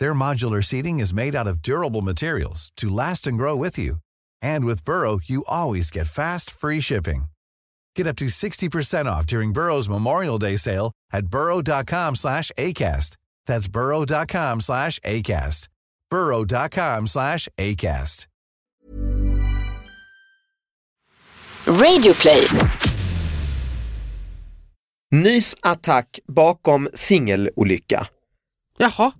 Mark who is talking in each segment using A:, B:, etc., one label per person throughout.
A: Their modular seating is made out of durable materials to last and grow with you. And with Burrow, you always get fast, free shipping. Get up to 60% off during Burrow's Memorial Day sale at burrow.com slash ACAST. That's burrow.com slash ACAST. burrow.com slash ACAST.
B: Radioplay.
C: Nys attack bakom singelolycka.
D: Jaha.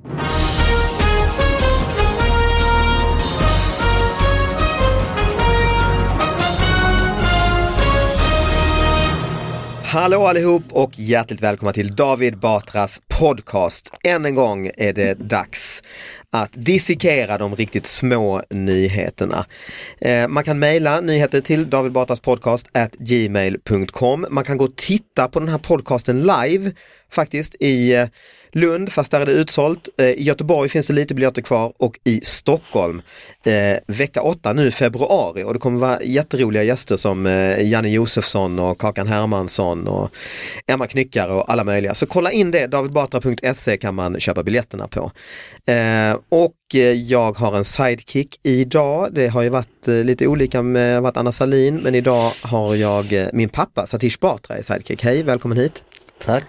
C: Hallå allihop och hjärtligt välkomna till David Batras podcast. Än en gång är det dags att dissekera de riktigt små nyheterna. Eh, man kan mejla nyheter till davidbatraspodcast at gmail.com. Man kan gå och titta på den här podcasten live faktiskt i eh, Lund, fast där är det utsålt. Eh, I Göteborg finns det lite biljetter kvar och i Stockholm eh, vecka 8 nu i februari och det kommer vara jätteroliga gäster som eh, Janne Josefsson och Kakan Hermansson och Emma Knyckare och alla möjliga. Så kolla in det, davidbatra.se kan man köpa biljetterna på. Eh, och eh, jag har en sidekick idag. Det har ju varit eh, lite olika med det har varit Anna Salin men idag har jag eh, min pappa Satish Batra i sidekick. Hej, välkommen hit. Tack.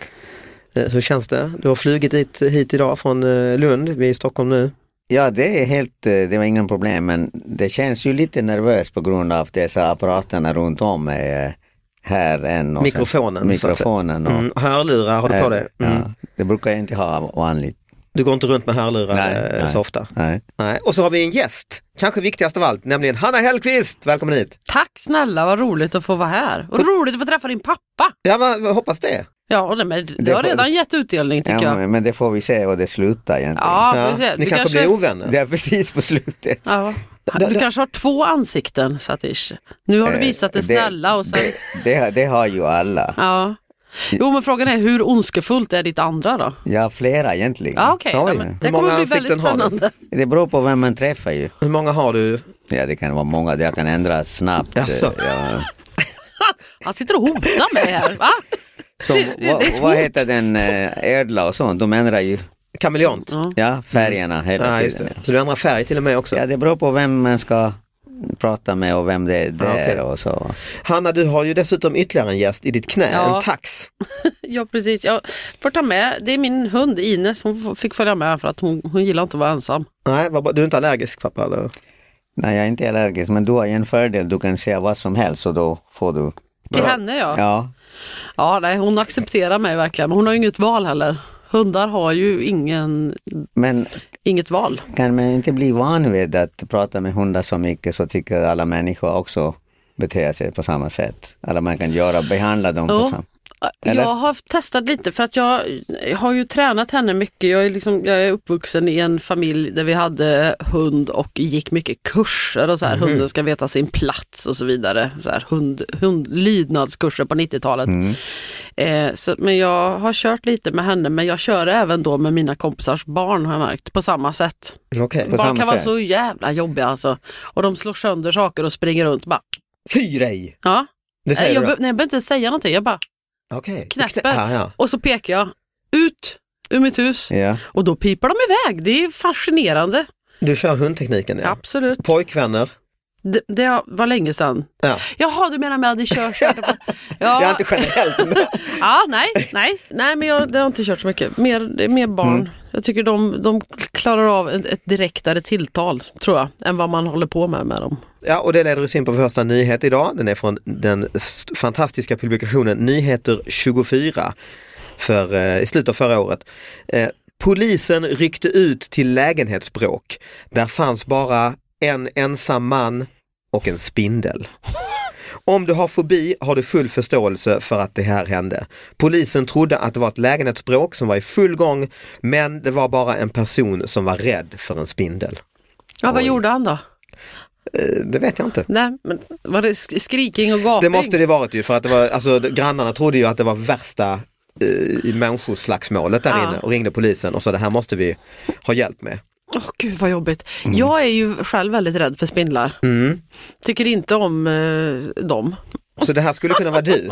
C: Eh, Hur känns det? Du har flugit dit, hit idag från eh, Lund, vi är i Stockholm nu.
E: Ja, det är helt, eh, det var inga problem, men det känns ju lite nervöst på grund av dessa apparaterna runt om är eh, här än. och sen-
C: Mikrofonen, så att säga.
E: Mikrofonen. Och,
C: Mm, hörlurar, har du på dig? Mm.
E: Eh, Ja, det brukar jag inte ha vanligt.
C: Du går inte runt med hörlurar
E: Nej,
C: eh,
E: nej.
C: så ofta?
E: Nej.
C: Nej. Och så har vi en gäst, kanske viktigast av allt, nämligen Hanna Hellqvist. Välkommen hit!
D: Tack snälla, vad roligt att få vara här. Och roligt att få träffa din pappa.
C: Ja, vad, vad hoppas det.
D: Ja, och det, men, du
E: Det
D: har
E: får-
D: redan gett utdelning tycker
E: Ja,
D: jag.
E: men, men det får vi se och det slutar egentligen.
D: Ja,
C: Ja,
D: vi ser.
C: Ni
D: Du
C: kanske, blir ovänner?
E: Det är precis på slutet.
D: Ja.
C: Det-
D: Du
C: det-
D: kanske har två ansikten Satish. Nu har du visat det
E: Eh, det-
D: snälla och sen...
E: Det, det, har- det har ju alla.
D: Ja. Jo men frågan är hur ondskefullt är ditt andra då?
E: Ja, flera egentligen.
D: Ja okej,
C: Oj,
D: ja, men det
C: hur många
D: kommer bli väldigt
C: ansikten har du?
D: spännande.
E: Det beror på vem man träffar ju.
C: Hur många har du?
E: Ja, det kan vara många, det kan ändras snabbt.
C: Jaså?
E: Ja.
D: Han sitter och hotar mig här. Va?
E: Så, vad,
D: det är ett
E: vad
D: hot.
E: heter den, eh, ödla och sånt, de ändrar ju
C: Kameleont? Ja,
E: ja, färgerna hela
C: just
E: tiden.
C: det. Så du ändrar färg till och med också?
E: Ja, det beror på vem man ska prata med och vem det, det
C: Ja, Ah, okej.
E: är och så.
C: Hanna, du har ju dessutom ytterligare en gäst i ditt knä,
D: Ja.
C: en tax.
D: Ja precis, jag får ta med, det är min hund Ines, hon f- fick följa med för att hon, hon gillar inte att vara ensam.
C: Nej, vad, bra. du är inte allergisk pappa? Eller?
E: Nej, jag är inte allergisk, men du har ju en fördel, du kan säga vad som helst och då får du.
D: Till henne ja.
E: Ja,
D: Ja, nej, hon accepterar mig verkligen. Men hon har ju inget val heller. Hundar har ju ingen,
E: men
D: inget val.
E: kan man inte bli van vid att prata med hundar så mycket så tycker alla människor också beter sig på samma sätt. Eller man kan göra, behandla dem på
D: Jo.
E: samma Eller?
D: Jag har testat lite för att jag har ju tränat henne mycket. Jag är, liksom, jag är uppvuxen i en familj där vi hade hund och gick mycket kurser och så här. Hunden ska veta sin plats och så vidare. Så här, hund, hund, lydnadskurser på 90-talet. Eh, så, men jag har kört lite med henne men jag kör även då med mina kompisars barn har jag märkt på samma sätt.
C: Okej.
E: På
D: Barn
E: samma
D: kan vara
E: sätt.
D: så jävla jobbiga alltså. Och de slår sönder saker och springer runt. Bara,
C: Fy dig!
D: ja.
C: Det
D: Nej,
C: säger
D: Eh, jag,
C: du?
D: be- nej, jag behöver inte säga någonting, jag bara
C: Okej. Du knä-
D: knäpper.
C: Ja, ja.
D: Och så pekar jag ut ur mitt hus
E: Ja.
D: och då piper de iväg. Det är fascinerande.
C: Du kör hundtekniken ja.
D: Absolut.
C: Pojkvänner.
D: Det, det var länge sedan.
C: Ja.
D: Jaha, du menar med att ni kör så mycket på-
C: Ja.
D: ja.
C: Jag är inte generellt men
D: ja, nej, nej, nej, men jag det har inte kört så mycket. Mer, det är mer barn.
C: Mm.
D: Jag tycker de, de klarar av ett, ett direktare tilltal, tror jag, än vad man håller på med med dem.
C: Ja, och det leder oss in på vår första nyhet idag. Den är från den s- fantastiska publikationen Nyheter 24 för, eh, i slutet av förra året. Eh, polisen ryckte ut till lägenhetsbråk. Där fanns bara en ensam man och en spindel. Om du har fobi har du full förståelse för att det här hände. Polisen trodde att det var ett lägenhetsbråk som var i full gång, men det var bara en person som var rädd för en spindel.
D: Ja, vad gjorde han då?
C: Eh, Det vet jag inte.
D: Nej, men var det sk- skriking och
C: Det
D: gaping?
C: måste det varit ju för att det var, alltså, grannarna trodde ju att det var värsta eh, människoslagsmålet där
D: Ja.
C: inne och ringde polisen och sa det här måste vi ha hjälp med.
D: Åh gud vad jobbigt.
C: Mm.
D: Jag är ju själv väldigt rädd för spindlar. Tycker inte om eh, dem.
C: Så det här skulle kunna vara du.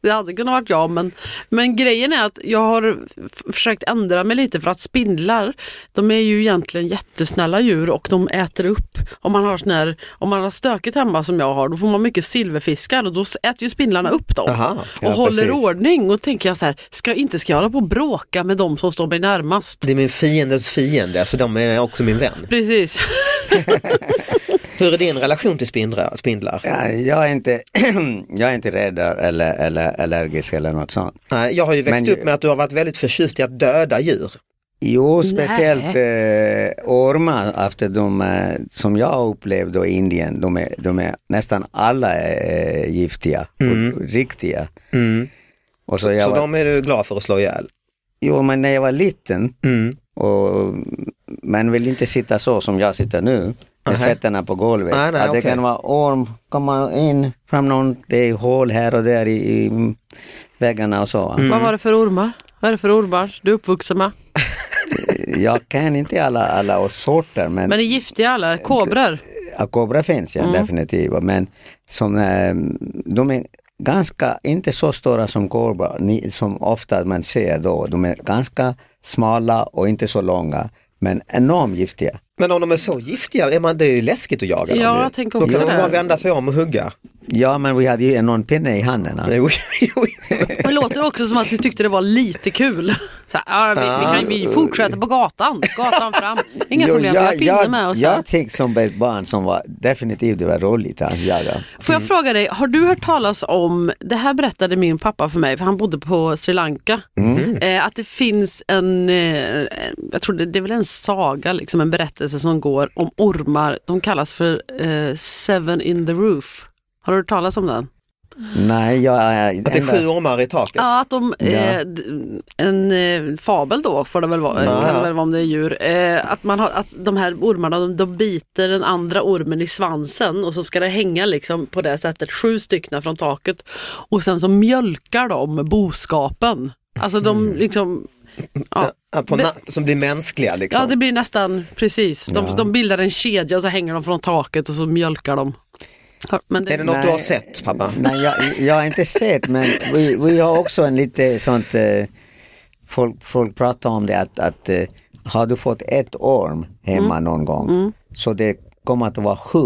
D: Det hade kunnat varit jag men, men grejen är att jag har f- försökt ändra mig lite för att spindlar de är ju egentligen jättesnälla djur och de äter upp. Om man har, sån här, om man har stökigt hemma som jag har då får man mycket silverfiskar och då s- äter ju spindlarna upp dem
C: Aha, ja,
D: och håller
C: precis.
D: ordning. Och tänker jag så här, ska jag inte ska jag hålla på och bråka med de som står mig närmast?
C: Det är min fiendes fiende så de är också min vän.
D: Precis.
C: Hur är din relation till spindlar? spindlar?
E: Ja, jag, är inte, jag är inte rädd eller, eller allergisk eller något sånt.
C: Nej, Jag har ju växt
E: Men-
C: upp med att du har varit väldigt förtjust i att döda djur.
E: Jo, speciellt eh, ormar, efter de, eh, som jag upplevde i Indien, de är, de är nästan alla eh, giftiga, och riktiga. Och så jag
C: Mm. Så
E: var,
C: de är du glad för att slå ihjäl.
E: Jo, men när jag var liten,
C: Mm.
E: och, man vill inte sitta så som jag sitter nu, med fötterna på golvet.
C: Nej, nej,
E: att det
C: okej.
E: kan vara orm, komma in, fram någon, det är hål här och där i, i väggarna och
C: Mm.
E: så.
D: Vad var det för ormar? Vad är det för ormar du är uppvuxen med?
E: Jag kan inte alla, alla sorter, men
D: Men Mm. är giftiga alla? Kobror?
E: Ja, kobra finns ja, definitivt. Men som, eh, de är ganska, inte så stora som kobra, ni, som ofta man ser då. De är ganska smala och inte så långa, men enormt giftiga.
C: Men om de är så giftiga, är man, det är ju läskigt att jaga
D: Ja,
C: dem. ju.
D: jag tänker
C: Då
D: också
C: kan man
D: det.
C: bara vända sig om och hugga.
E: Ja, men vi hade ju en pinne i handen. alltså. ja.
C: Jo, jo, jo.
D: Det låter också som att ni tyckte det var lite kul. Så här, ja, vi, vi kan ju vi fortsätter på gatan, gatan fram. Inga
E: Jo,
D: problem, vi har
E: jag,
D: pinne
E: jag,
D: med oss. här.
E: jag tyckte som ett barn som var definitivt det var roligt att jaga.
D: Får jag fråga dig, har du hört talas om, det här berättade min pappa för mig, för han bodde på Sri Lanka, eh, att det finns en, eh, jag tror det, det är väl en saga, liksom en berättelse som går om ormar, de kallas för eh, Seven in the Roof. Har du hört talas om den?
E: Nej, jag är...
C: Att det är sju ormar i taket.
D: Ja, att de, eh, d- en eh, fabel då får det väl vara,
C: Ja.
D: kan det väl vara om det är djur, eh, att, man har, att de här ormarna de, de biter den andra ormen i svansen och så ska det hänga liksom på det sättet, sju stycken från taket och sen så mjölkar de boskapen. Alltså de liksom, ja,
C: Mm. Ja, På
D: Men-
C: natt, som blir mänskliga liksom.
D: ja det blir nästan precis, de, de bildar en kedja och så hänger de från taket och så mjölkar de. Ja, Men
C: Är det något du har sett pappa?
E: Nej, jag, jag har inte sett, men vi, vi har också en lite sånt, eh, folk, folk pratar om det att, att eh, har du fått ett orm hemma
C: Mm.
E: någon gång, så det kommer att vara sju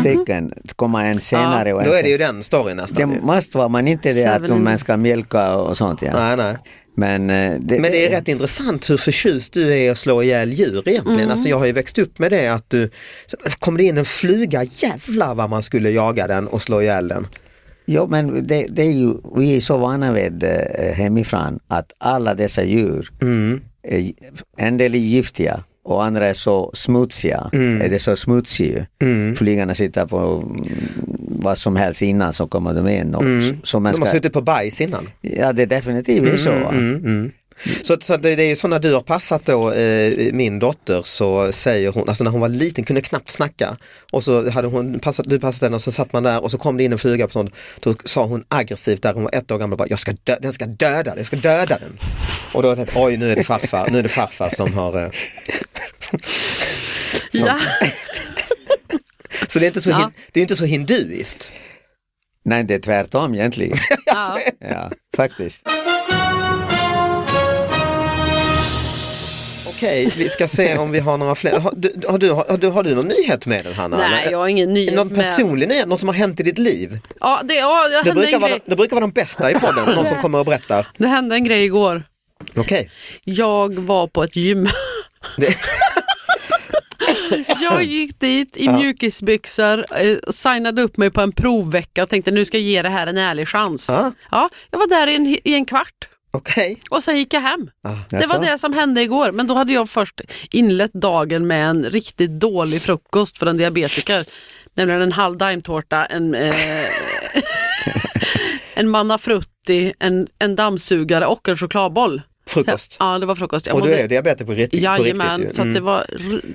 E: stycken, det kommer en senare och en
C: Mhm. Då är det ju
E: sen-
C: den storyn
E: det
C: nästan. ju.
E: måste vara, men inte det att
D: Seven.
E: de- man ska mjölka och sånt. Ja.
C: Nej, nej.
E: Men, eh, det,
C: Men det är rätt intressant hur förtjust du är i att slå ihjäl djur egentligen.
E: Mm.
C: Alltså jag har ju växt upp med det att du, så kom det in en fluga, jävlar vad man skulle jaga den och slå ihjäl den.
E: Jo, men det, det är ju, vi är så vana vid eh, hemifrån att alla dessa djur, eh, en del är giftiga och andra är så smutsiga. Är det så smutsiga? Flygarna sitter på mm, vad som helst innan så kommer de in. Och, s- så man
C: De
E: ska,
C: har suttit på bajs innan.
E: Ja, det är definitivt mm, så. va?
C: Så, så det, det är ju så när du har passat då eh, min dotter så säger hon, alltså när hon var liten kunde knappt snacka och så hade hon passat, du passat henne och så satt man där och så kom det in en fluga på sånt. Då sa hon aggressivt där hon var ett år gammal, bara, jag ska dö- den ska döda den, jag ska döda den. Och då tänkte jag, oj nu är det farfar, nu är det farfar som har eh,
D: Ja.
C: Så det är inte så,
D: Ja.
C: hin- det är inte så hinduiskt.
E: Nej, det är tvärtom egentligen. ja, faktiskt.
C: Och Okej, vi ska se om vi har några fler. Har du, har du, har du, har du någon nyhet med den Hanna?
D: Nej,
C: eller? eh,
D: jag har ingen nyhet.
C: Någon
D: med-
C: personlig nyhet, något som har hänt i ditt liv?
D: Ja, det, ja, det,
C: Det
D: hände
C: brukar,
D: en
C: vara,
D: Alltså, grej.
C: de- det brukar vara de bästa i podden, någon som kommer och berättar.
D: det hände en grej igår.
C: Okej.
D: Jag var på ett gym.
C: Det-
D: Jag gick dit i mjukisbyxor, eh, signade upp mig på en provvecka och tänkte nu ska jag ge det här en ärlig chans.
C: Ja.
D: Ja, jag var där i en, i en kvart
C: Okej.
D: och sen gick jag hem.
C: Ah,
D: Det
E: Jaså?
D: var det som hände igår, men då hade jag först inlett dagen med en riktigt dålig frukost för en diabetiker. Nämligen en halv daimtårta, en, eh, en manafrutti, en, en dammsugare och en chokladboll.
C: Frukost.
D: Ja, det var frukost. Jag
C: Och du
D: mådde-
C: är diabetiker på riktigt? på
D: Jajamän,
C: riktigt ju.
D: så att det
C: Mm.
D: var,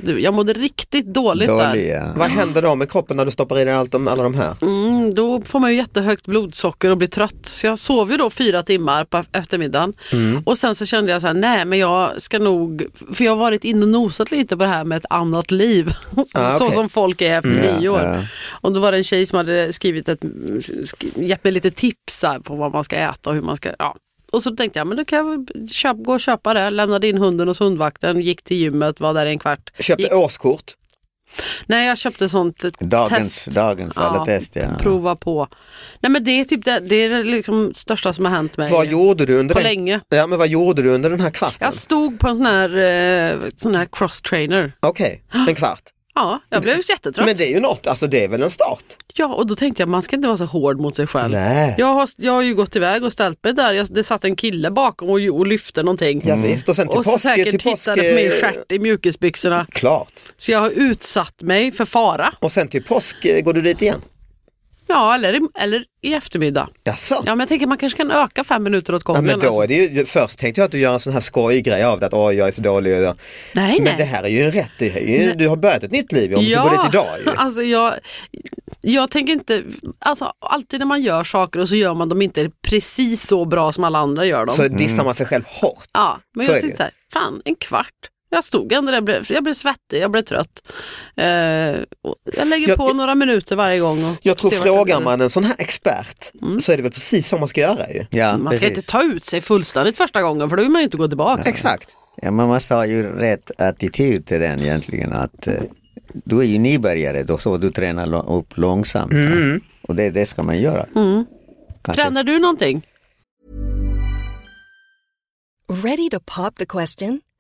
D: du, jag mådde riktigt dåligt
E: Dålig,
D: där.
E: ja.
C: Vad händer då med kroppen när du stoppar i dig allt om, alla de här?
D: Mm, då får man ju jättehögt blodsocker och blir trött. Så jag sov ju då fyra timmar på eftermiddagen. Och sen så kände jag så här, nej men jag ska nog, för jag har varit inne och nosat lite på det här med ett annat liv.
C: Ah,
D: så
C: okej.
D: som folk är efter
E: Mm.
D: nyår.
E: Ja, ja.
D: Och då var det en tjej som hade skrivit ett, sk- gett mig lite tips här på vad man ska äta och hur man ska, ja. Och så tänkte jag, men då kan jag väl köp, gå och köpa det. Lämnade in hunden hos hundvakten, gick till gymmet, var där i en kvart.
C: Köpte
D: Gick-
C: årskort?
D: Nej, jag köpte sånt eh,
E: Dagens,
D: test.
E: dagens alla
D: Ja,
E: test ja.
D: Prova på. Nej men det är typ det, det är det liksom största som har hänt mig.
C: Vad gjorde du under
D: på
C: den?
D: länge.
C: Ja, men vad gjorde du under den här kvarten?
D: Jag stod på en sån här, eh, sån här cross trainer.
C: Okej,
D: Ah,
C: en kvart.
D: Ja, jag blev jättetrött.
C: Mm. Men det är ju något, alltså det är väl en start?
D: Ja, och då tänkte jag man ska inte vara så hård mot sig själv.
C: Nej.
D: Jag har, jag har ju gått iväg och ställt mig där. Jag, det satt en kille bakom och, och lyfte någonting.
C: Ja, visst. Och sen till
D: och
C: påsk-
D: säkert
C: till
D: tittade
C: påsk-
D: på min stjärt i mjukisbyxorna.
C: Klart.
D: Så jag har utsatt mig för fara.
C: Och sen till påsk eh, går du dit igen?
D: Ja, eller, i- eller i eftermiddag.
C: Jaså?
D: Ja, men jag tänker man kanske kan öka fem minuter åt
C: Ja,
D: gången.
C: men då
D: alltså.
C: är det ju, först tänkte jag att du gör en sån här skojig grej av det, att åh jag är så dålig. och jag-"
D: Nej, nej.
C: Men det här är ju en rätt, det här är ju, du har börjat ett nytt liv om du går dit idag. Ju.
D: Alltså jag, jag tänker inte, alltså alltid när man gör saker och så gör man dem inte precis så bra som alla andra gör dem.
C: Så dissar man sig själv hårt.
D: ja, men
C: så är
D: jag
C: det ju.
D: tänkte så här, fan en kvart. Jag stod ändå där, jag blev, jag blev svettig, jag blev trött. Eh, och jag lägger
C: Jag-
D: på några minuter varje gång. Och
C: Jag tror
D: ser Mm. vart det
C: frågar
D: blir.
C: man en sån här expert så är det väl precis så man ska göra ju.
E: Ja.
D: Man ska
C: precis.
D: inte ta ut sig fullständigt första gången för då vill man ju inte gå tillbaka.
C: Exakt.
E: Ja, man måste ha ju rätt attityd till den egentligen. Att, eh, du är ju nybörjare då, så du tränar lo- upp långsamt. va? Och det, det ska man göra. Kanske.
D: Mm. Tränar du någonting?
B: Ready to pop the question?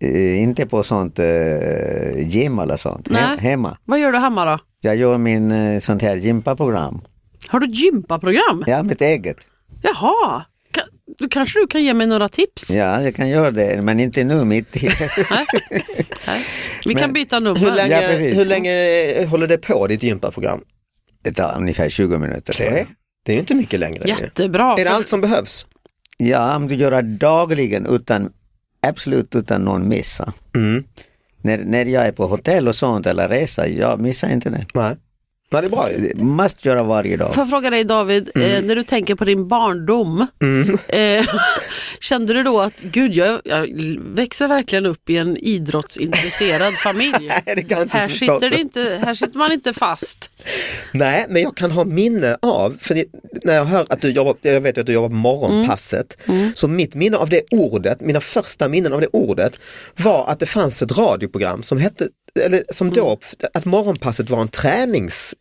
E: Eh, inte på sånt eh, gym eller sånt. He-
D: Nej.
E: hemma.
D: Vad gör du hemma då?
E: Jag gör min eh, sånt här gympaprogram.
D: Har du gympaprogram?
E: Ja, mitt eget.
D: Jaha, Ka- då kanske du kan ge mig några tips?
E: Ja, jag kan göra det, men inte nu mitt i.
D: Vi kan
E: Men-
D: byta
C: Hur
D: nummer.
C: länge,
E: Ja, precis.
C: hur länge eh, håller det på ditt gympaprogram?
E: Det tar ungefär 20 minuter. tror jag.
C: Det, det är ju inte mycket längre. ju.
D: Jättebra.
C: Är det
D: för-
C: allt som behövs?
E: Ja, om du gör det dagligen utan, absolut utan någon miss. va? När, när jag är på hotell och sånt eller resa, jag missar inte det.
C: Nej. Nej, det är bra ju.
E: Det Måste göra varje dag.
D: Får jag fråga dig David,
C: Mm.
D: eh, när du tänker på din barndom, eh, kände du då att gud jag, jag växer verkligen upp i en idrottsintresserad familj?
C: det kan jag inte
D: här,
C: förstå.
D: sitter det inte, här sitter man inte fast.
C: Nej, men jag kan ha minne av, för det, när jag hör att du jobbar, jag vet ju att du jobbar på morgonpasset,
D: Mm.
C: så mitt minne av det ordet, mina första minnen av det ordet var att det fanns ett radioprogram som hette eller
D: Mm.
C: som då, att morgonpasset var en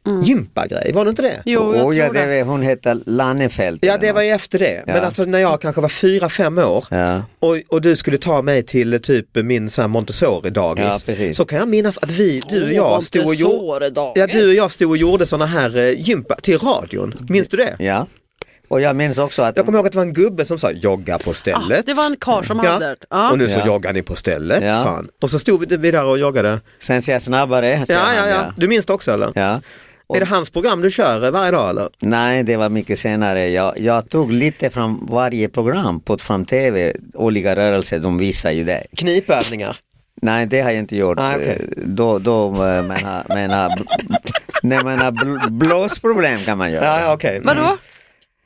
C: träningsgympagrej, var det inte det?
D: Mm. Jo, jag
E: och, ja,
D: tror det.
E: det, hon heter Lannefelt.
C: Ja
E: eller
C: det var
E: något.
C: ju efter det, men
E: Ja.
C: alltså när jag kanske var fyra, fem år
E: Ja.
C: och, och du skulle ta mig till eh, typ min så här
E: Ja,
C: Montessori-dagis
E: precis.
C: så kan jag minnas att vi, du och jag, stod och gjorde
D: Montessori-dagis.
C: Ja, du och jag stod och gjorde sådana här eh, gympa till radion, minns du det?
E: Ja. Och jag minns också att...
C: Jag kommer ihåg att det var en gubbe som sa jogga på stället.
D: Ah, det var en karl som hade det. Ja.
C: Och nu så
E: Ja.
C: joggar ni på stället,
E: Ja.
C: sa han. Och så stod vi- vi där och joggade.
E: Sen ser jag snabbare. säger
C: Ja,
E: han,
C: ja, ja, du minns det också eller?
E: ja.
C: Är det hans program du kör eh, varje dag eller?
E: Nej, det var mycket senare. Jag, jag tog lite från varje program, på, från tv, olika rörelser, de visar ju det.
C: Knipövningar.
E: Nej, det har jag inte gjort.
C: Ah, okej.
E: Eh, Då, då eh, man har, man har, när man har bl- blåsproblem kan man göra.
C: Ja, ja okej. Mm.
D: Vadå?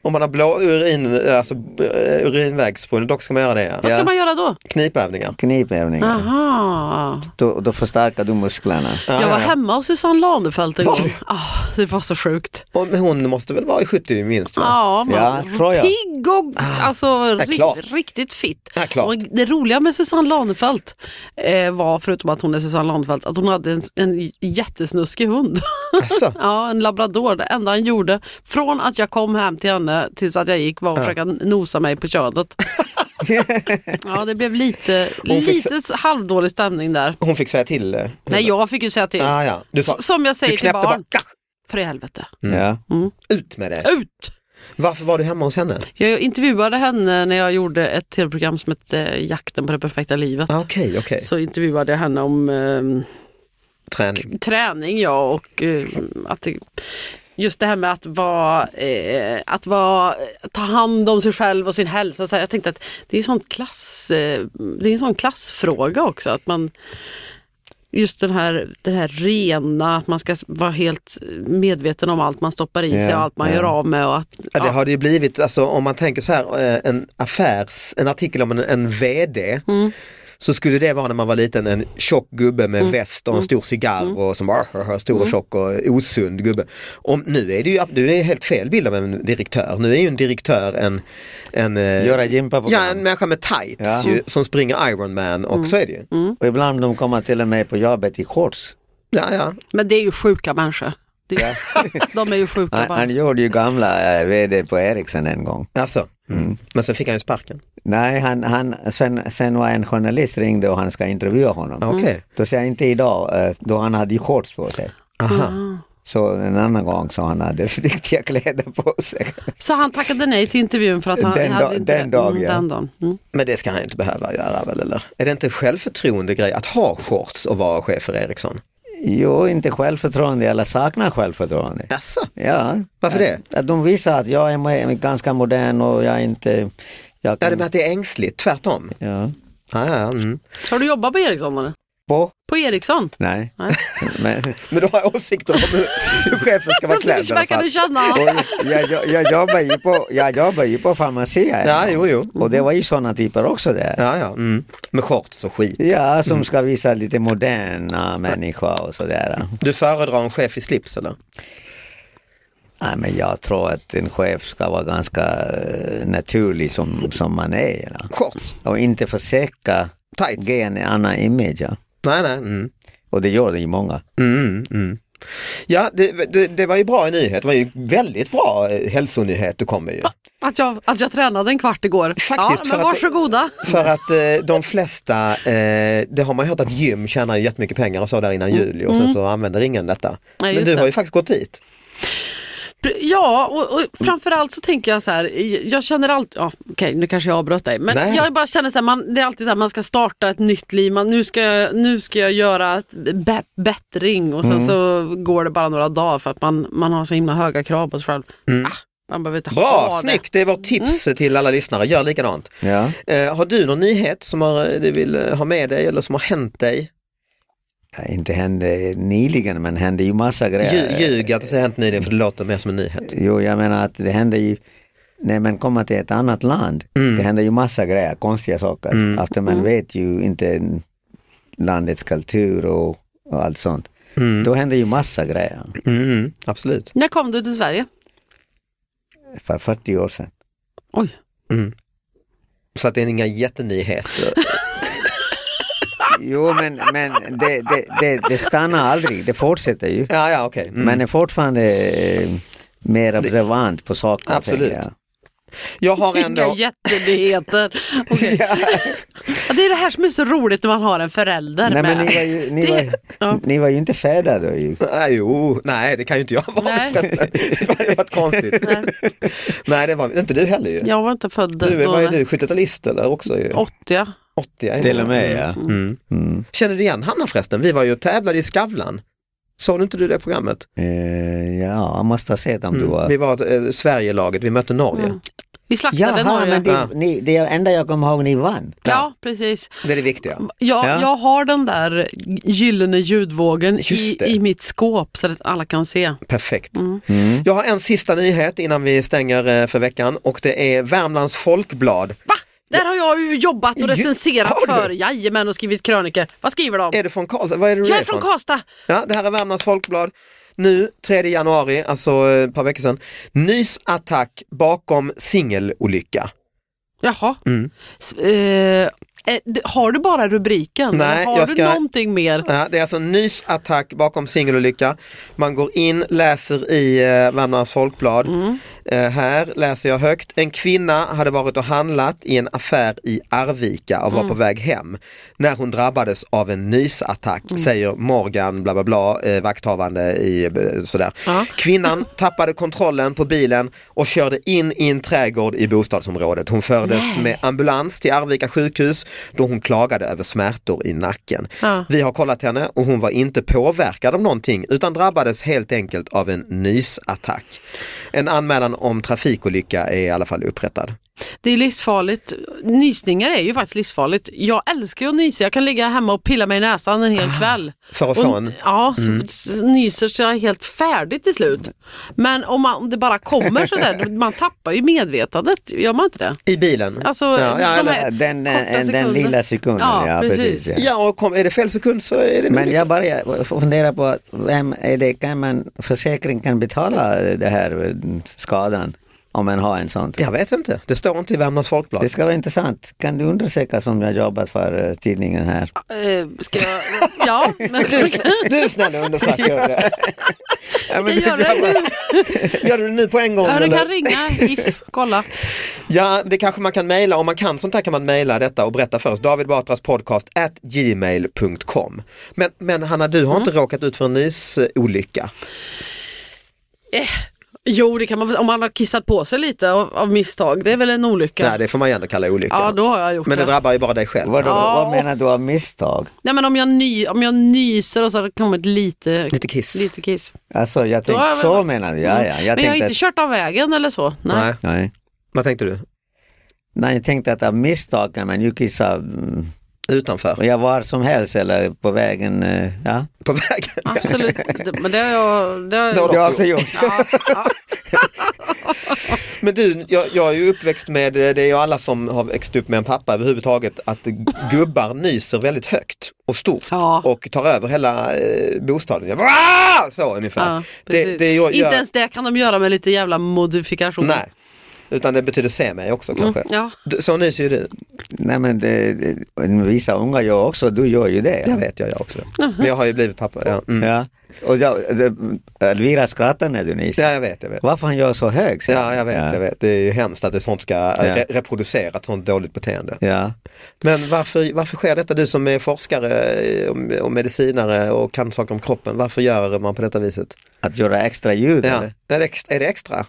C: Om man har blå urin, alltså eh, urinvägsproblem, dock ska man göra det. Ja. Alltså, Mm.
D: Vad ska man göra då?
C: Knipövningar. Ah.
E: Knipövningar,
D: Aha.
E: då, då förstärker du musklerna.
C: Ja,
D: jag var
C: Ah, ja.
D: hemma hos Susanne Lanefelt en gång. Ah, det var så sjukt.
C: Och hon måste väl vara i 70 minst va?
D: Ja, man
E: Ja, tror jag.
D: pigg och alltså, ri-
C: Ah, klart.
D: riktigt fit.
C: Ja, klart.
D: Och det roliga med Susanne Lanefelt eh, var, förutom att hon är Susanne Lanefelt, att hon hade en, en jättesnuskig hund.
C: Asså?
D: ja, en labrador. Det enda han gjorde från att jag kom hem till henne tills att jag gick var att försöka nosa mig på könet. ja, det blev lite,
C: Hon fick
D: lite halvdålig stämning där.
C: Hon fick säga till. eh,
D: Nej, jag fick ju säga till.
C: Ah, ja. Du sa,
D: S- Som jag säger
C: du
D: till
C: knäppte
D: barn.
C: bara, "Kah!"
D: För i helvete.
E: Ja.
C: Mm. ut med det.
D: Ut!
C: Varför var du hemma hos henne?
D: Jag intervjuade henne när jag gjorde ett tv-program som hette eh, Jakten på det perfekta livet.
C: Ah, Okej, okej.
D: Så intervjuade jag henne om ehm,
C: Träning.
D: träning ja, och eh, att det, just det här med att, vara, eh, att vara, ta hand om sig själv och sin hälsa. Så här, jag tänkte att det är, sånt klass, eh, det är en sån klassfråga också. Att man, just den här, den här rena, att man ska vara helt medveten om allt man stoppar i sig
E: Ja,
D: och allt man
E: ja.
D: gör av med. Och att,
C: Ja, det
D: ja.
C: har det ju blivit, alltså, om man tänker så här, eh, en affärs, en artikel om en, en VD,
D: Mm.
C: så skulle det vara när man var liten en tjock gubbe med väst och en
D: Mm.
C: stor cigarr och som var stor och tjock och osund gubbe. Om, nu är det ju du är helt fel bild av en direktör, nu är ju en direktör en, en, eh,
E: Göra gympaprogram.
C: ja, en människa med tights
E: Ja.
C: ju, som springer Ironman och så är det ju.
E: Och ibland de kommer till och med på jobbet i shorts.
C: Ja, ja.
D: Men det är ju sjuka människor. Det, De är ju sjuka
E: Han,
D: bara.
E: han gjorde ju gamla eh, vd på Ericsson en gång.
C: Alltså. Men sen fick han ju sparken.
E: Nej, han, han, sen, sen var en journalist ringde och han ska intervjua honom.
C: Ah,
E: Mm.
C: Okej,
E: Då sa jag inte idag, eh, då han hade ju shorts på sig.
C: aha.
E: Så en annan gång så han hade riktiga kläder på sig.
D: Så han tackade nej till intervjun för att han
E: Den
D: hade
E: dag-
D: inte
E: den dagen,
D: mm,
E: ja.
D: den dagen. Mm.
C: Men det ska han inte behöva göra väl eller? Är det inte en självförtroende grej att ha shorts och vara chef för Ericsson?
E: Jo, inte självförtroende, eller saknar självförtroende.
C: Jaså?
E: Ja.
C: Varför det?
E: Att, att de visar att jag är mo- ganska modern och jag är inte... Jag
C: Ja, det
E: kan,
C: med att det är ängsligt, tvärtom.
E: ja.
C: Ja, ja, ja, mm.
D: Så har du jobbat på Ericsson eller?
E: På?
D: På Ericsson?
E: Nej.
D: Nej.
E: Men,
C: Men du har jag åsikter om hur, hur chefen ska vara klädd. i
D: Plötsligt
C: alla
D: verkar
C: fall.
D: du känna.
E: och jag, jag, jag, jobbar ju på, jag jobbar ju på farmaci här.
C: Ja, jo, jo.
E: Och det var ju sådana typer också där.
C: Ja, ja. Mm. Med shorts och skit.
E: Ja, som ska visa lite moderna människa och sådär.
C: Du föredrar en chef i slips eller?
E: Nej, men jag tror att en chef ska vara ganska eh, naturlig som, som man är. Ja.
C: Shorts?
E: Och inte försöka
C: Tights?
E: ge en annan image. Ja.
C: Nej, nej. Mm.
E: Och det gör det ju många.
C: Mm, mm. Ja, det, det, det var ju bra i nyhet. Det var ju väldigt bra eh, hälsonyhet du kom med ju.
D: Att jag, att jag tränade en kvart igår.
C: Faktiskt,
D: ja,
C: för
D: men
C: att-
D: varsågoda.
C: För att eh, de flesta, eh, det har man ju hört att gym tjänar ju jättemycket pengar och så där innan juli och sen så använder ingen detta.
D: Nej,
C: Men
D: just
C: du
D: det.
C: har ju faktiskt gått dit.
D: Ja, och, och framförallt så tänker jag så här, jag känner alltid, ja, okej nu kanske jag avbröt dig, men
C: Nej.
D: jag bara känner så här, man, det är alltid så här, man ska starta ett nytt liv, man, nu, ska, jag- nu ska jag göra ett bä- bättring och sen
C: Mm.
D: så går det bara några dagar för att man, man har så himla höga krav på sig själv. Ah, man behöver inte
C: Mm. Bra,
D: ha
C: snyggt! Det är vårt tips till alla lyssnare, gör likadant.
E: Ja.
C: Eh, har du någon nyhet som har, du vill eh, ha med dig eller som har hänt dig?
E: Ja, inte hände nyligen, men hände ju massa
C: Lju-
E: grejer.
C: Ljug att det har hänt nyligen för det låter mer som en nyhet.
E: Jo, jag menar att det hände ju, när man kommer till ett annat land, det händer ju massa grejer, konstiga saker. Eftersom man vet ju inte landets kultur och, och allt sånt. Då händer ju massa grejer,
C: Mm, absolut.
D: När kom du till Sverige?
E: för 40 år sedan.
D: Oj.
C: Så att det är inga jättenyheter.
E: Jo, men, men det, det, det, det stannar aldrig, det fortsätter ju.
C: Ja, ja, okej. Mm.
E: Man är fortfarande eh, mer observant på saker.
C: Absolut.
E: tänker jag.
C: Jag har
D: Inga
C: ändå...
D: jättenyheter. Okej.
C: Ja.
D: Ja, det är det här som är så roligt när man har en förälder
E: Nej,
D: med.
E: men ni var ju, ni var,
D: ja.
E: ni var ju inte färdiga då ju.
C: Nej, jo, nej det kan ju inte jag ha
D: Nej.
C: varit förresten. Det hade varit konstigt.
D: Nej.
C: Nej, det var inte du heller ju.
D: Jag var inte född
C: Du,
D: då.
C: vad är du, 70-talist eller också? Ju?
D: 80. ja.
C: 80 ja.
E: Till och med ja.
C: Mm. Känner du igen Hanna förresten? Vi var ju och tävlade i Skavlan. Såg du inte du det programmet?
E: Eh, ja, jag måste ha sett om du
C: Mm.
E: var...
C: Vi var eh, Sverigelaget, vi mötte Norge.
D: Mm. Vi slaktade
E: Jaha,
D: Norge.
E: men
D: Ja.
E: det, ni, det är det enda jag kommer ihåg ni vann.
D: precis.
C: Det är det viktiga.
D: Jag,
E: Ja.
D: jag har den där gyllene ljudvågen i,
C: Just det.
D: i mitt skåp så att alla kan se.
C: Perfekt.
D: Mm.
E: Mm.
C: Jag har en sista nyhet innan vi stänger eh, för veckan och det är Värmlands Folkblad.
D: Va? Där har jag ju jobbat och
C: Ju-
D: recenserat
C: har du?
D: för. Jajamän, och skrivit kröniker. Vad skriver de?
C: Är du från Karlstad? Vad är det du
D: Jag är från Karlstad!
C: Ja, det här är Värmlands Folkblad. Nu, 3 januari, alltså eh, ett par veckor sedan. Nysattack bakom singelolycka.
D: Jaha.
C: Mm.
D: S- eh, eh, d- har du bara rubriken?
C: Nej,
D: Eller har
C: jag
D: du
C: ska-
D: någonting mer?
C: Ja, det är alltså en nysattack bakom singelolycka. Man går in, läser i eh, Värmlands Folkblad. Eh, här läser jag högt. En kvinna hade varit och handlat i en affär i Arvika och var på väg hem när hon drabbades av en nysattack, säger Morgan bla bla bla, eh, vakthavande i eh, sådär. Kvinnan tappade kontrollen på bilen och körde in i en trädgård i bostadsområdet. Hon fördes med ambulans till Arvika sjukhus då hon klagade över smärtor i nacken.
D: Ja.
C: Vi har kollat henne och hon var inte påverkad av någonting utan drabbades helt enkelt av en nysattack. En anmälan om trafikolycka är i alla fall upprättad.
D: Det är livsfarligt. Nysningar är ju faktiskt livsfarligt. Jag älskar ju att nysa. Jag kan ligga hemma och pilla mig i näsan en hel kväll.
C: För att få en?
D: Och, ja, så så nyser så jag är helt färdig till slut. Men om, man, om det bara kommer sådär, då- man tappar ju medvetandet. Gör man inte det?
C: I bilen?
D: Alltså,
C: ja, ja,
D: de
C: eller,
D: här-
E: Ja, Den,
D: Korta
E: den, den
D: sekunder.
E: lilla sekunden,
D: Ja,
E: ja,
D: precis.
E: precis. ja.
C: ja och kom, är det fel sekund så är det en
E: Men
C: olycka.
E: jag bara funderar på, vem är det, kan man, försäkring kan betala den här eh, skadan om man har en sån?
C: jag vet inte, det står inte i Värmlands Folkblad.
E: Det ska vara intressant. Kan du undersöka som jag jobbat för eh, tidningen här?
D: Eh, ska jag... Ja, men
C: Du, du är snäll och undersöker det. Ja, men
D: jag gör det nu.
C: Gör du det nu på en gång?
D: Ja, du
C: eller?
D: kan ringa If, kolla.
C: Ja, det kanske man kan mejla. Om man kan sånt här kan man mejla detta och berätta för oss. David Batras podcast at gmail.com. Men, men Hanna, du
D: Mm.
C: har inte råkat ut för en nysolycka?
D: Eh, Jo, det kan man väl- om man har kissat på sig lite av, av misstag. Det är väl en olycka?
C: Nej, det får man ju ändå kalla olycka.
D: ja, då har jag gjort
C: men det
D: det.
C: drabbar ju bara dig själv.
E: Vadå,
D: Ja.
E: Vad menar du av misstag?
D: Nej, men om jag, ny, om jag nyser och så har det kommit lite,
C: Lite kiss.
D: lite kiss.
E: Alltså jag
D: Då har
E: tänkte,
D: jag väl-
E: så menar du? Ja, ja. Jag
D: men jag har
E: tänkte
D: inte
E: att-
D: kört av vägen eller så. Nej.
C: Nej.
E: Nej.
C: Vad tänkte du?
E: Nej, jag tänkte att av misstag kan man ju kissa mm,
C: Utanför?
E: ja, var som helst eller på vägen. eh, Ja.
C: På vägen?
D: Absolut, Det- men det har jag... Det har
C: Det har
D: jag
C: du
E: Jag har
C: också
E: också gjort.
D: ja, ja.
C: Men du, jag, jag är ju uppväxt med, det är ju alla som har växt upp med en pappa överhuvudtaget, att gubbar nyser väldigt högt och stort
D: Ja.
C: och tar över hela eh, bostaden. Vaa! Så ungefär.
D: Ja, precis.
C: gör-
D: Inte ens det kan de göra med lite jävla modifikation.
C: Nej, utan det betyder se mig också kanske.
D: Mm. Ja.
C: Du- Så nyser ju du.
E: Nej men det, det, vissa unga gör också, du gör ju det.
C: Det vet jag, jag också. Men jag har ju blivit pappa. Ja, mm.
E: Ja. Och jag, det, Elvira skrattar när du nyser.
C: ja jag vet, jag vet.
E: Varför han gör så hög? säger
C: Ja, jag vet,
E: ja.
C: jag vet. Det är ju hemskt att det sånt ska äh, re- reproducera ett sånt dåligt beteende.
E: Ja.
C: Men varför, varför sker detta? Du som är forskare eh, och- och medicinare och kan saker om kroppen, varför gör man på detta viset?
E: Att göra extra ljud?
C: Ja.
E: eller?
C: Är, det extra, är det extra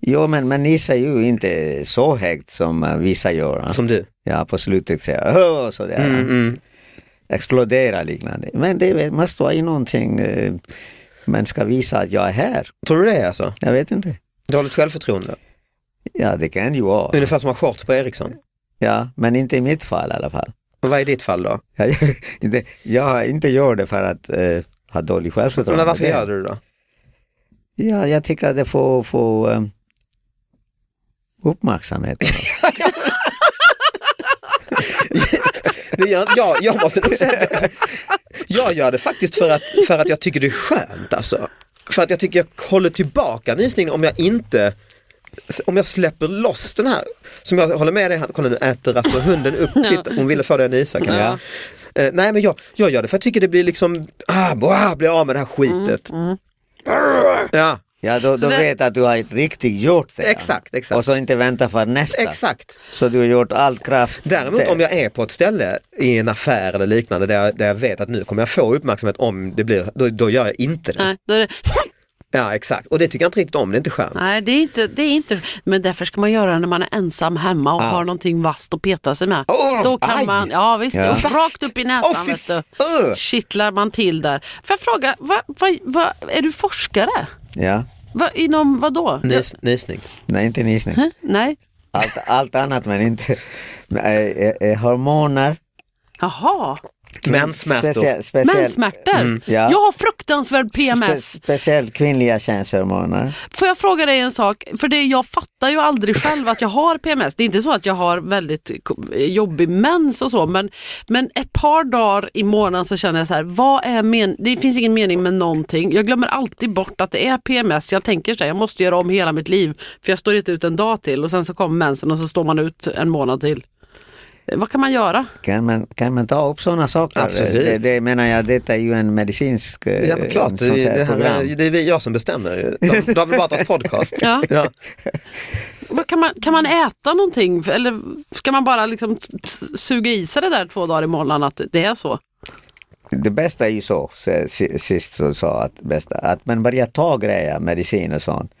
E: Jo, men man nissar ju inte så högt som eh, vissa gör.
C: som du?
E: Ja, på slutet säger jag "Åh", sådär.
C: Mm.
E: Explodera liknande. Men det vet- måste vara ju någonting eh, man ska visa att jag är här.
C: Tror du det alltså?
E: Jag vet inte.
C: Dåligt självförtroende?
E: Ja, det kan ju vara.
C: Ungefär som att ha shorts på Ericsson.
E: Ja, men inte i mitt fall i alla fall.
C: Men vad är ditt fall då?
E: Jag, inte, jag inte gör det för att eh, ha dålig självförtroende.
C: Men varför
E: Det-
C: gör du det då?
E: Ja, jag tycker att det får, får eh, uppmärksamhet.
C: Det gör, jag, Alltså, jag måste nog säga det. Jag gör det faktiskt för att, för att jag tycker det är skönt alltså. För att jag tycker jag håller tillbaka nysningen om jag inte om jag släpper loss den här, som jag håller med dig, han- kolla nu äter alltså hunden upp ditt, hon ville få dig att nysa kanske.
E: Ja.
C: Eh, nej men jag, jag gör det för jag tycker det blir liksom, ah, bah, blir av med det här skitet. Ja,
E: Ja, då, då
D: det-
E: vet att du har riktigt gjort det.
C: Exakt, exakt.
E: Och så inte vänta för nästa.
C: exakt.
E: Så du har gjort all kraft.
C: Däremot
E: där.
C: om jag är på ett ställe i en affär eller liknande där jag, där jag vet att nu kommer jag få uppmärksamhet om det blir, då, då gör jag inte det.
D: Nej, då är det,
C: Ja exakt, och det tycker jag inte riktigt om, det är inte skönt.
D: nej det, är inte, det är inte, men därför ska man göra när man är ensam hemma och har någonting vasst att peta sig med.
C: Åh,
D: då kan
C: aj!
D: man, ja visst,
E: Ja.
D: och rakt upp i näsan
C: Åh, fy
D: vet du.
C: f- Ugh.
D: Kittlar man till där. Får jag fråga, vad, vad, vad, är du forskare?
E: Ja,
D: Vad- inom vad då?
C: Nys, nysning.
E: nej inte nysning.
D: Nej,
E: Allt, allt annat men inte men, eh, eh, eh, hormoner.
D: jaha.
C: Menssmärtor.
E: Speciell, speciell,
D: Menssmärtor?
E: ja.
D: Jag har fruktansvärd PMS.
E: Spe, speciellt kvinnliga könshormoner.
D: Får jag fråga dig en sak? För det, jag fattar ju aldrig själv att jag har PMS. Det är inte så att jag har väldigt ko- jobbig mens och så, men, men ett par dagar i månaden så känner jag så här, vad är men det finns ingen mening med någonting. Jag glömmer alltid bort att det är PMS. Jag tänker så här, jag måste göra om hela mitt liv, för jag står inte ut en dag till och sen så kommer mensen och så står man ut en månad till. Eh, Vad kan man göra?
E: Kan man, kan man ta upp sådana saker?
C: Absolut.
E: Det, det menar jag, detta är ju en medicinsk eh,
C: Ja men klart, det,
E: sånt här
C: det, här,
E: program.
C: är- det är vi- jag som bestämmer. ju. Dav- David Batras podcast.
D: Ja. Vad kan, man, kan man äta någonting eller ska man bara liksom t- t- suga i sig det där två dagar i månaden att det är så?
E: Det bästa är ju så, s- s- sist så sa att, bästa, att man börjar ta grejer, medicin och sånt.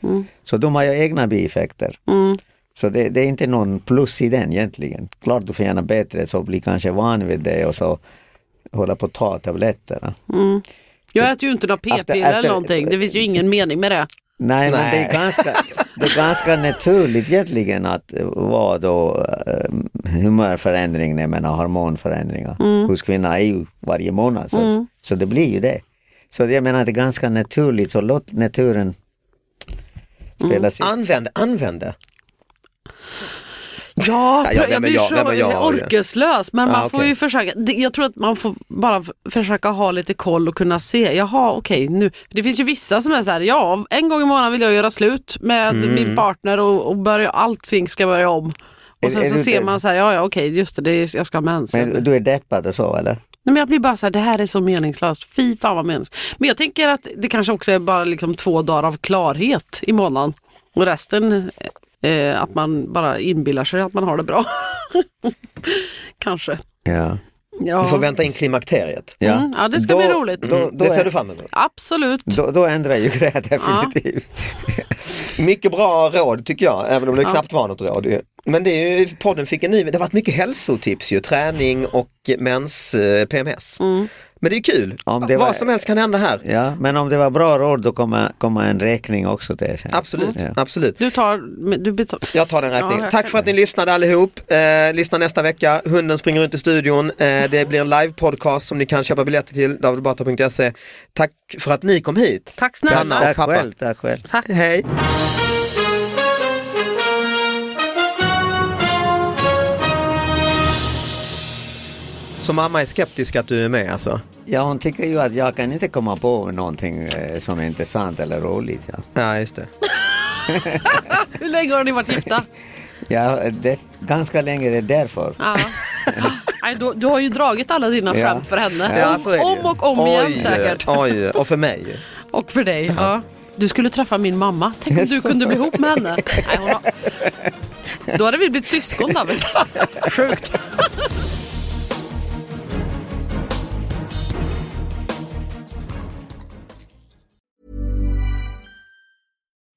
E: Så de har ju egna bieffekter. Så det, det är inte någon plus i den egentligen. Klart du får gärna bättre, så bli kanske van vid det och så hålla på att ta tabletterna.
D: Jag äter ju inte några
E: Efter-
D: p-piller eller
E: efter-
D: någonting. Det finns ju ingen mening med det.
E: Nej, men det
C: Nej.
E: är, ganska, det är ganska naturligt egentligen att eh, vara då eh, humörförändring, jag menar hormonförändringar
D: Mm.
E: hos kvinnor är ju varje månad. Så, så det blir ju det. Så jag menar att det är ganska naturligt, så låt naturen
D: Mm.
E: spela sitt.
C: Använd, använd det. Ja,
D: jag, blir så orkeslös
E: Ah,
D: men man
C: Ja,
D: får
C: okej.
D: ju försöka. det- Jag tror att man får bara f- försöka ha lite koll och kunna se. Jaha okej nu. Det finns ju vissa som är så här. Ja en gång i månaden vill jag göra slut med
E: Mm.
D: min partner och, och börja, allting ska börja om.
E: Är-
D: Och sen
E: är
D: så
E: du-
D: ser man så här, ja ja okej just det, det är, jag ska ha mens.
E: Men du är deppad och så eller?
D: Nej, men jag blir bara så här, det här är så meningslöst. Fy fan vad meningslöst. Men jag tänker att det kanske också är bara liksom två dagar av klarhet i månaden. Och resten, eh, att man bara inbillar sig att man har det bra. kanske.
E: Ja.
D: Ja.
C: Du får vänta in klimakteriet.
E: Ja,
D: Mm, ja, det ska bli roligt.
E: Då, då,
C: Det ser
E: är,
C: du fram emot.
D: Absolut.
E: då, då ändrar ju grejer definitivt.
C: Mycket bra råd tycker jag, även om det knappt var något råd. ju. Men det är ju, podden fick en ny, det har varit mycket hälsotips ju, träning och mens, eh, PMS. Men det är kul,
E: Om det
C: vad
E: var-
C: som helst kan hända här.
E: Ja. men om det var bra råd då kommer, kommer en räkning också till sen.
C: Absolut,
E: Ja.
C: absolut.
D: Du tar, men du betalar.
C: Jag tar den räkningen.
D: Ja, jag
C: Tack för att ni lyssnade allihop. Eh, lyssna nästa vecka. Hunden springer runt i studion. Eh, det blir en live-podcast som ni kan köpa biljetter till, davidbatra.se. Tack för att ni kom hit.
D: Tack snälla.
C: Anna och
E: Tack
C: pappa.
E: själv, tack själv.
D: Tack.
C: Hej. Så mamma är skeptisk att du är med alltså?
E: Ja, hon tycker ju att jag kan inte komma på någonting eh, som är intressant eller roligt. Ja.
C: Ja, just det.
D: Hur länge har ni varit gifta?
E: Ja, det, ganska länge, det är därför.
D: Ja. Nej, du, du har ju dragit alla dina
E: Ja.
D: skämt för henne.
C: Ja,
D: om,
C: så är det ju.
D: om och om igen
C: Oj,
D: säkert.
C: Oj, och för mig. ju.
D: Och för dig. Ja. Du skulle träffa min mamma. Tänk om du kunde bli ihop med henne. Nej, hon har... Då hade vi blivit syskon David. Sjukt.